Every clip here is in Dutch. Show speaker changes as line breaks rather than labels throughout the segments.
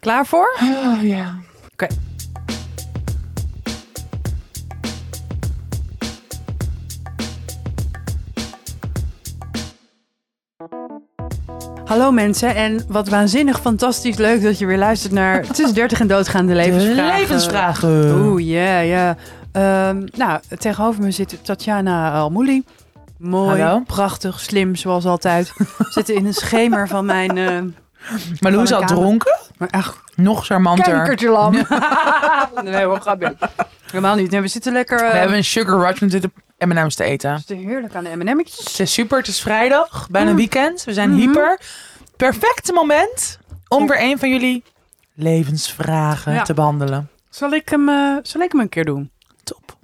Klaar voor?
Oh ja.
Oké. Hallo mensen en wat waanzinnig fantastisch leuk dat je weer luistert naar Tussen 30 en Doodgaande Levensvragen.
levensvragen.
Oeh, ja, ja. Ehm, nou, tegenover me zit Tatjana Almouli. Mooi,
Hallo.
prachtig, slim zoals altijd. Zit in een schemer van mijn... eh
Maar Lou is
Van
al
een kamer.
dronken.
maar echt
Nog charmanter.
kankertje lam. nee hoor, grapje. Helemaal niet. Nee, we zitten lekker... eh,
We hebben een sugar rush met dit M&M's te eten.
we zitten heerlijk aan de M&M'tjes.
Het is super. Het is vrijdag. Bijna
Mm.
weekend. We zijn
Mhm.
hyper. Perfecte moment om weer een van jullie levensvragen
Ja.
te behandelen.
Zal ik, hem, eh, zal ik hem een keer doen?
Top.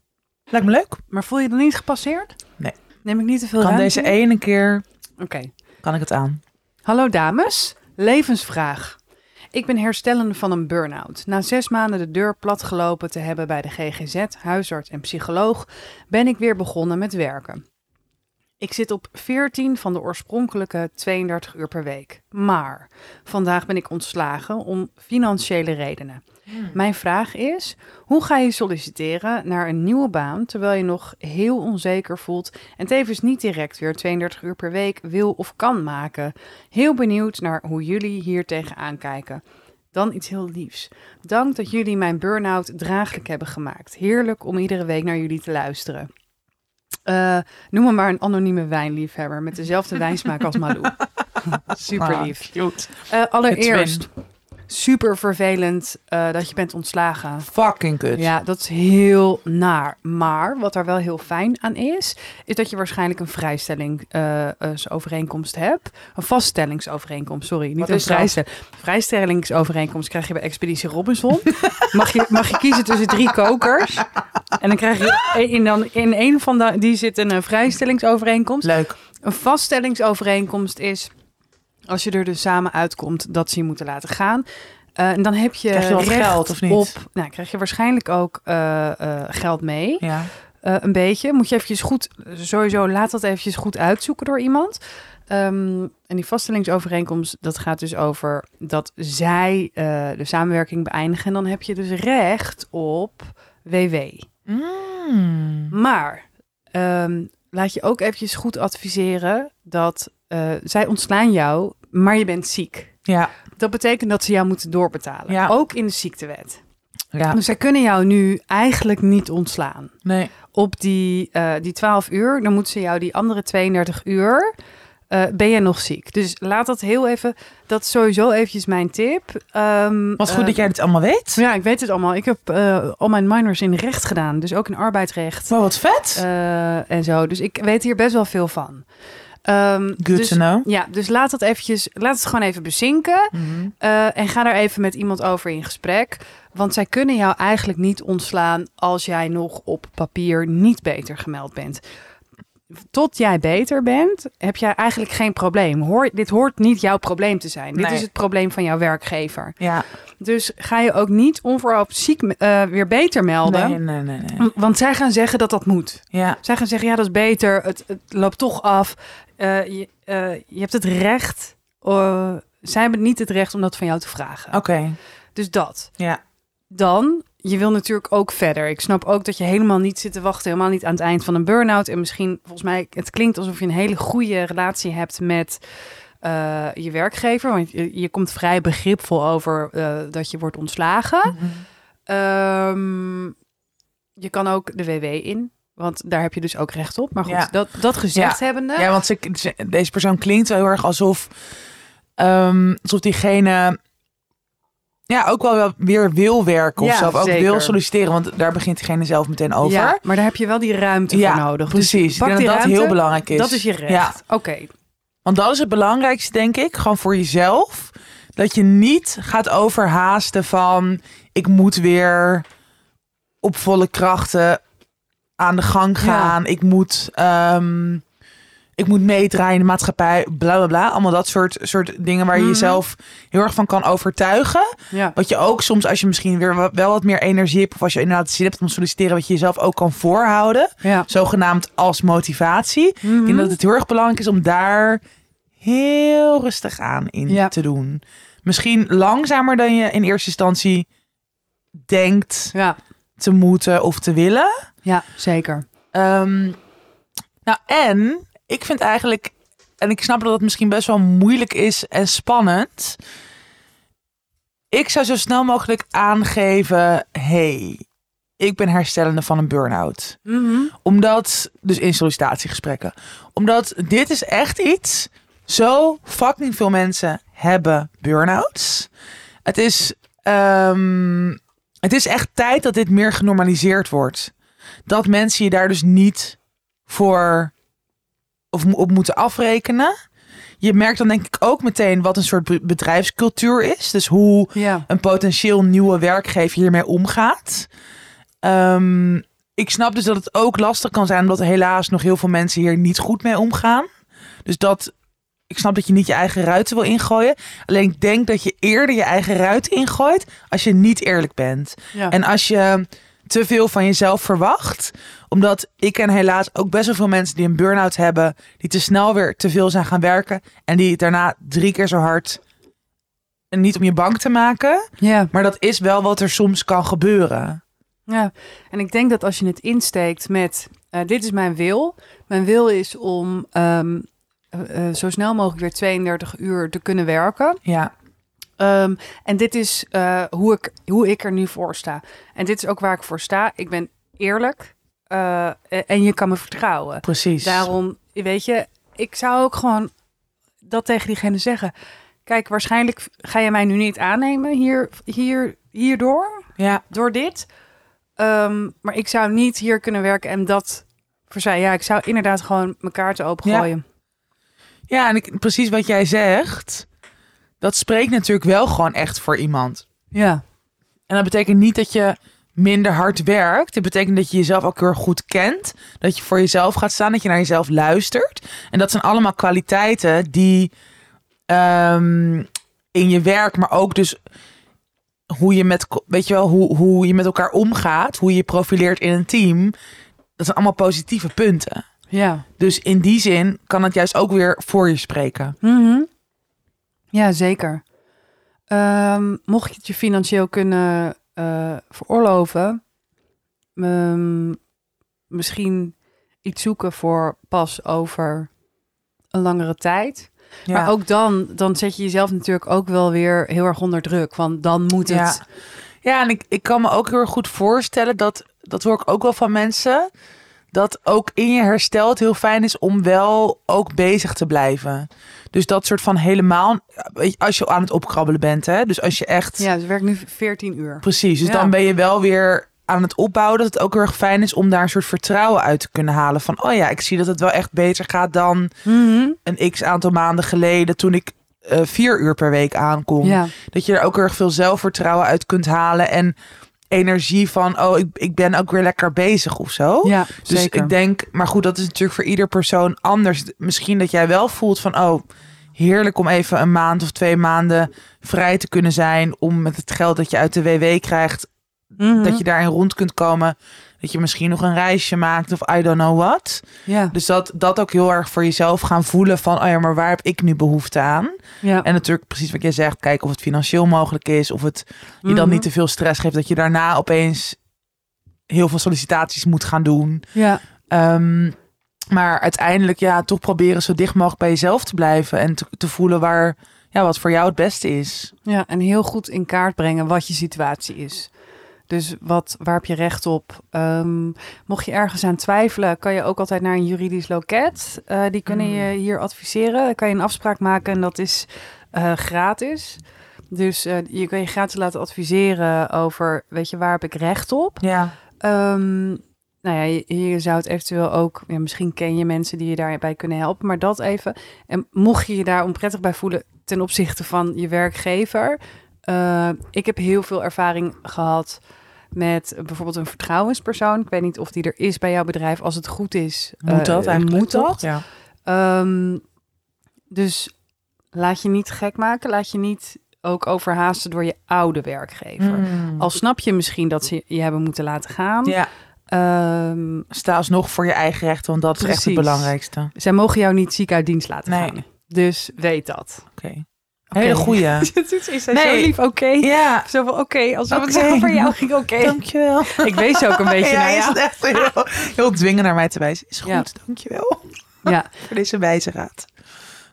Lijkt me leuk.
Maar voel je dan niet gepasseerd?
Nee.
Neem ik niet te veel
Kan
ruimte
deze e-
in?
ene keer
Oké.
kan ik het aan.
Hallo dames, levensvraag. Ik ben herstellende van een burn-out. Na zes maanden de deur platgelopen te hebben bij de GGZ, huisarts en psycholoog, ben ik weer begonnen met werken. Ik zit op 14 van de oorspronkelijke 32 uur per week. Maar vandaag ben ik ontslagen om financiële redenen. Mijn vraag is: hoe ga je solliciteren naar een nieuwe baan terwijl je nog heel onzeker voelt en tevens niet direct weer 32 uur per week wil of kan maken? Heel benieuwd naar hoe jullie hier tegenaan kijken. Dan iets heel liefs. Dank dat jullie mijn burn-out draaglijk hebben gemaakt. Heerlijk om iedere week naar jullie te luisteren. Eh, noem me maar een anonieme wijnliefhebber met dezelfde wijnsmaak als Malou. Super
Ah,
lief.
cute.
Eh, allereerst, super vervelend eh, dat je bent ontslagen.
Fucking kut.
Ja, dat is heel naar. Maar wat daar wel heel fijn aan is, is dat je waarschijnlijk een vrijstellingsovereenkomst hebt. Een vaststellingsovereenkomst, sorry. Niet
Wat
een
is dat?
vrijstelling. Vrijstellingsovereenkomst krijg je bij Expeditie Robinson. mag, je, mag je kiezen tussen drie kokers. En dan krijg je in, dan, in een van de, die zit een eh, vrijstellingsovereenkomst.
Leuk.
Een vaststellingsovereenkomst is, als je er dus samen uitkomt, dat ze je moeten laten gaan. Eh, en dan heb je,
Krijg je wat
recht
geld, of niet?
Op, nou, krijg je waarschijnlijk ook eh, eh, geld mee.
Ja.
Eh, een beetje. Moet je eventjes goed, sowieso laat dat eventjes goed uitzoeken door iemand. Ehm, en die vaststellingsovereenkomst, dat gaat dus over dat zij eh, de samenwerking beëindigen. En dan heb je dus recht op WW.
Mm.
Maar ehm, laat je ook eventjes goed adviseren dat eh, zij ontslaan jou, maar je bent ziek.
Ja.
Dat betekent dat ze jou moeten doorbetalen.
Ja.
Ook in de ziektewet.
Ja.
Dus zij kunnen jou nu eigenlijk niet ontslaan.
Nee.
Op die, eh, die 12 uur, dan moeten ze jou die andere 32 uur. eh, ben je nog ziek? Dus laat dat heel even. Dat is sowieso eventjes mijn tip. Ehm,
Wat goed
eh,
dat jij dit allemaal weet.
Ja, ik weet het allemaal. Ik heb eh, al mijn minors in recht gedaan. Dus ook in arbeidsrecht.
Wow, wat vet.
Eh, en zo. Dus ik weet hier best wel veel van. Ehm,
Good
dus,
to know.
Ja, dus laat dat eventjes, laat het gewoon even bezinken.
Mhm.
eh, en ga daar even met iemand over in gesprek. Want zij kunnen jou eigenlijk niet ontslaan als jij nog op papier niet beter gemeld bent. Tot jij beter bent, heb jij eigenlijk geen probleem. Hoor, dit hoort niet jouw probleem te zijn. Dit
Nee.
is het probleem van jouw werkgever.
Ja.
Dus ga je ook niet onverhoopt ziek eh, weer beter melden.
Nee, nee, nee. nee.
W- Want zij gaan zeggen dat dat moet.
Ja.
Zij gaan zeggen, ja, dat is beter. Het, het loopt toch af. Eh, je, eh, je hebt het recht. eh, zij hebben niet het recht om dat van jou te vragen.
Oké.
Dus dat.
Ja.
Dan, je wil natuurlijk ook verder. Ik snap ook dat je helemaal niet zit te wachten. Helemaal niet aan het eind van een burn-out. En misschien, volgens mij, het klinkt alsof je een hele goede relatie hebt met... eh, je werkgever, want je, je komt vrij begripvol over eh, dat je wordt ontslagen.
Mhm.
Ehm, je kan ook de WW in, want daar heb je dus ook recht op. Maar goed,
Ja.
dat, dat gezegd hebbende.
Ja, want ze, ze- deze persoon klinkt wel heel erg alsof, ehm, alsof diegene ja, ook wel wel weer wil werken of
Ja,
zo. Of ook
zeker.
wil solliciteren, want daar begint diegene zelf meteen over.
Ja, maar daar heb je wel die ruimte
Ja,
voor nodig. Dus
Precies, ik
pak
denk dat
die
dat
ruimte.
heel belangrijk is.
dat is je recht.
Ja,
Oké,
want dat is het belangrijkste, denk ik, gewoon voor jezelf. Dat je niet gaat overhaasten van, ik moet weer op volle krachten aan de gang gaan. Ik moet... ehm, ik moet meedraaien in de maatschappij, bla bla bla. Allemaal dat soort, soort dingen waar je
Mhm.
jezelf heel erg van kan overtuigen.
ja.
Wat je ook soms, als je misschien weer wa- wel wat meer energie hebt... of als je inderdaad zin hebt om te solliciteren... wat je jezelf ook kan voorhouden,
ja. Mhm.
zogenaamd als motivatie. Ik denk dat het heel erg belangrijk is om daar heel rustig aan in
Ja.
te doen. misschien langzamer dan je in eerste instantie denkt
Ja,
te moeten of te willen.
ja zeker.
Ehm, nou, en ik vind eigenlijk, en ik snap dat het misschien best wel moeilijk is en spannend. Ik zou zo snel mogelijk aangeven: hey, ik ben herstellende van een burn-out. Omdat, dus in sollicitatiegesprekken, omdat dit is echt iets. Zo fucking veel mensen hebben burn-outs. Het is, ehm, het is echt tijd dat dit meer genormaliseerd wordt dat mensen je daar dus niet voor of mo- op moeten afrekenen. Je merkt dan denk ik ook meteen wat een soort be- bedrijfscultuur is. Dus hoe
Ja.
een potentieel nieuwe werkgever hiermee omgaat. Ehm, ik snap dus dat het ook lastig kan zijn, omdat helaas nog heel veel mensen hier niet goed mee omgaan. Dus dat, ik snap dat je niet je eigen ruiten wil ingooien. Alleen ik denk dat je eerder je eigen ruiten ingooit als je niet eerlijk bent.
ja.
En als je te veel van jezelf verwacht, omdat ik ken helaas ook best wel veel mensen die een burn-out hebben, die te snel weer te veel zijn gaan werken en die daarna drie keer zo hard. En niet om je bang te maken,
ja.
maar dat is wel wat er soms kan gebeuren.
Ja, en ik denk dat als je het insteekt met eh, dit is mijn wil. Mijn wil is om ehm, eh, eh, zo snel mogelijk weer 32 uur te kunnen werken.
Ja,
Ehm, en dit is eh, hoe, ik, hoe ik er nu voor sta. En dit is ook waar ik voor sta. Ik ben eerlijk eh, e- en je kan me vertrouwen.
precies.
Daarom, weet je, ik zou ook gewoon dat tegen diegene zeggen. Kijk, waarschijnlijk ga je mij nu niet aannemen hier, hier, hierdoor
Ja,
door dit. Ehm, maar ik zou niet hier kunnen werken en dat voor zij. Ja, ik zou inderdaad gewoon mijn kaarten opengooien.
ja en ik, precies wat jij zegt, dat spreekt natuurlijk wel gewoon echt voor iemand.
Ja,
En dat betekent niet dat je minder hard werkt. Het betekent dat je jezelf ook heel erg goed kent. Dat je voor jezelf gaat staan, dat je naar jezelf luistert. En dat zijn allemaal kwaliteiten die ehm, in je werk, maar ook dus hoe je met, ko- weet je wel, hoe, hoe je met elkaar omgaat, hoe je je profileert in een team. Dat zijn allemaal positieve punten.
ja.
Dus in die zin kan het juist ook weer voor je spreken.
Mhm. Ja, zeker. Ehm, mocht je het je financieel kunnen eh, veroorloven, ehm, misschien iets zoeken voor pas over een langere tijd.
Ja.
Maar ook dan, dan zet je jezelf natuurlijk ook wel weer heel erg onder druk. Want dan moet het.
Ja, ja en ik, ik kan me ook heel erg goed voorstellen dat, dat hoor ik ook wel van mensen, dat ook in je herstel het heel fijn is om wel ook bezig te blijven. Dus dat soort van helemaal, weet je, als je aan het opkrabbelen bent, hè, dus als je echt,
Ja, ze werkt nu 14 uur.
precies, dus
Ja.
dan ben je wel weer aan het opbouwen, dat het ook heel erg fijn is om daar een soort vertrouwen uit te kunnen halen van, oh ja, ik zie dat het wel echt beter gaat dan
Mhm.
een x aantal maanden geleden toen ik eh, vier uur per week aankom
Ja,
dat je er ook heel erg veel zelfvertrouwen uit kunt halen. En energie van, oh, ik, ik ben ook weer lekker bezig of zo.
ja
dus
zeker.
ik denk, maar goed, dat is natuurlijk voor ieder persoon anders. Misschien dat jij wel voelt van, oh, heerlijk om even een maand of twee maanden vrij te kunnen zijn. Om met het geld dat je uit de WW krijgt,
Mhm.
dat je daarin rond kunt komen. Dat je misschien nog een reisje maakt of I don't know what.
ja,
Dus dat, dat ook heel erg voor jezelf gaan voelen van, oh ja, maar waar heb ik nu behoefte aan?
ja.
En natuurlijk precies wat jij zegt, kijken of het financieel mogelijk is, of het je dan
Mhm.
niet te veel stress geeft, dat je daarna opeens heel veel sollicitaties moet gaan doen.
ja,
Ehm, maar uiteindelijk ja, toch proberen zo dicht mogelijk bij jezelf te blijven en te, te voelen waar, ja, wat voor jou het beste is.
ja, en heel goed in kaart brengen wat je situatie is. Dus wat, waar heb je recht op? Ehm, mocht je ergens aan twijfelen, kan je ook altijd naar een juridisch loket. Eh, die kunnen je hier adviseren. Dan kan je een afspraak maken en dat is eh, gratis. Dus eh, je kan je gratis laten adviseren over, weet je, waar heb ik recht op?
Ja,
Ehm, nou ja, je, je zou het eventueel ook, ja, misschien ken je mensen die je daarbij kunnen helpen, maar dat even. En mocht je je daar onprettig bij voelen ten opzichte van je werkgever. eh, ik heb heel veel ervaring gehad met bijvoorbeeld een vertrouwenspersoon. Ik weet niet of die er is bij jouw bedrijf. Als het goed is,
moet
eh,
dat eigenlijk?
Moet
toch?
dat?
Ja.
Ehm, dus laat je niet gek maken. Laat je niet ook overhaasten door je oude werkgever.
Mm.
Al snap je misschien dat ze je hebben moeten laten gaan.
ja,
Ehm,
sta alsnog voor je eigen rechten, want dat is echt het
Precies.
belangrijkste. Oké.
zij mogen jou niet ziek uit dienst laten
Nee.
gaan. Dus weet dat. Oké.
Hele goeie.
Ze zei
Nee.
zo lief, oké.
Ja,
Zo van, oké, alsof het
Oké.
over jou ging, oké.
dankjewel.
Ik wees ook een beetje
ja,
naar
je
jou.
zit echt heel, heel dwingen naar mij te wijzen. Is goed,
nou, Ja.
dankjewel
Ja,
voor deze wijze raad.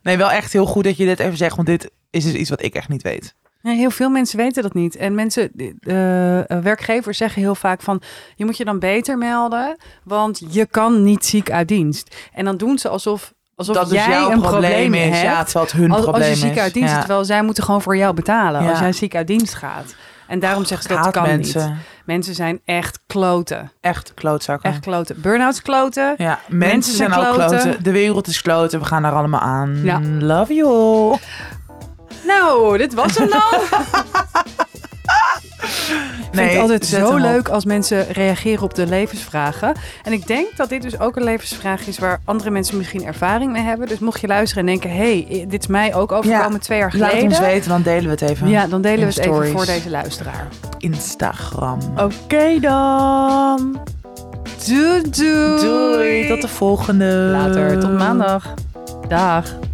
Nee, wel echt heel goed dat je dit even zegt, want dit is dus iets wat ik echt niet weet.
Ja, heel veel mensen weten dat niet. En mensen, eh, eh, werkgevers zeggen heel vaak van... je moet je dan beter melden, want je kan niet ziek uit dienst. En dan doen ze alsof, alsof
dat
jij
dus jouw
een
probleem is. Ja,
hebt.
terwijl het hun
als, als
probleem
je
is.
ziek uit dienst
ja.
is, terwijl zij moeten gewoon voor jou betalen...
Ja.
als jij ziek uit dienst gaat. En daarom zeggen ze, dat
Haat
kan
mensen.
niet. Mensen zijn echt kloten.
Echt klootzakken.
Echt kloten. Burn-outs kloten.
Ja, mensen, zijn,
zijn
ook
kloten.
kloten. De wereld is kloten. We gaan daar allemaal aan.
Ja.
Love you all.
Nou, dit was hem dan. Ik vind het altijd
zet
zo
hem op.
leuk als mensen reageren op de levensvragen. En ik denk dat dit dus ook een levensvraag is waar andere mensen misschien ervaring mee hebben. Dus mocht je luisteren en denken, hé, hey, dit is mij ook overkomen
Ja,
twee jaar
Laat
geleden.
ons weten, dan delen we het even.
ja, dan delen we
in
het
stories.
even voor deze luisteraar.
Instagram.
Oké dan. Doei doei.
Doei, tot de volgende.
Later, tot maandag. Dag.